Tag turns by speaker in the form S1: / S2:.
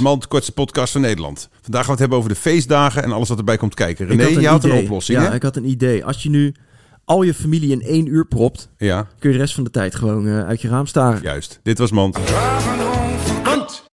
S1: Mand, de kortste podcast van Nederland. Vandaag gaan we het hebben over de feestdagen en alles wat erbij komt kijken. René,
S2: Ik had
S1: je had een
S2: idee.
S1: oplossing,
S2: Ja,
S1: hè?
S2: ik had een idee. Als je nu al je familie in één uur propt,
S1: Ja,
S2: kun je de rest van de tijd gewoon eh, uit je raam staren.
S1: juist. Dit was Mand.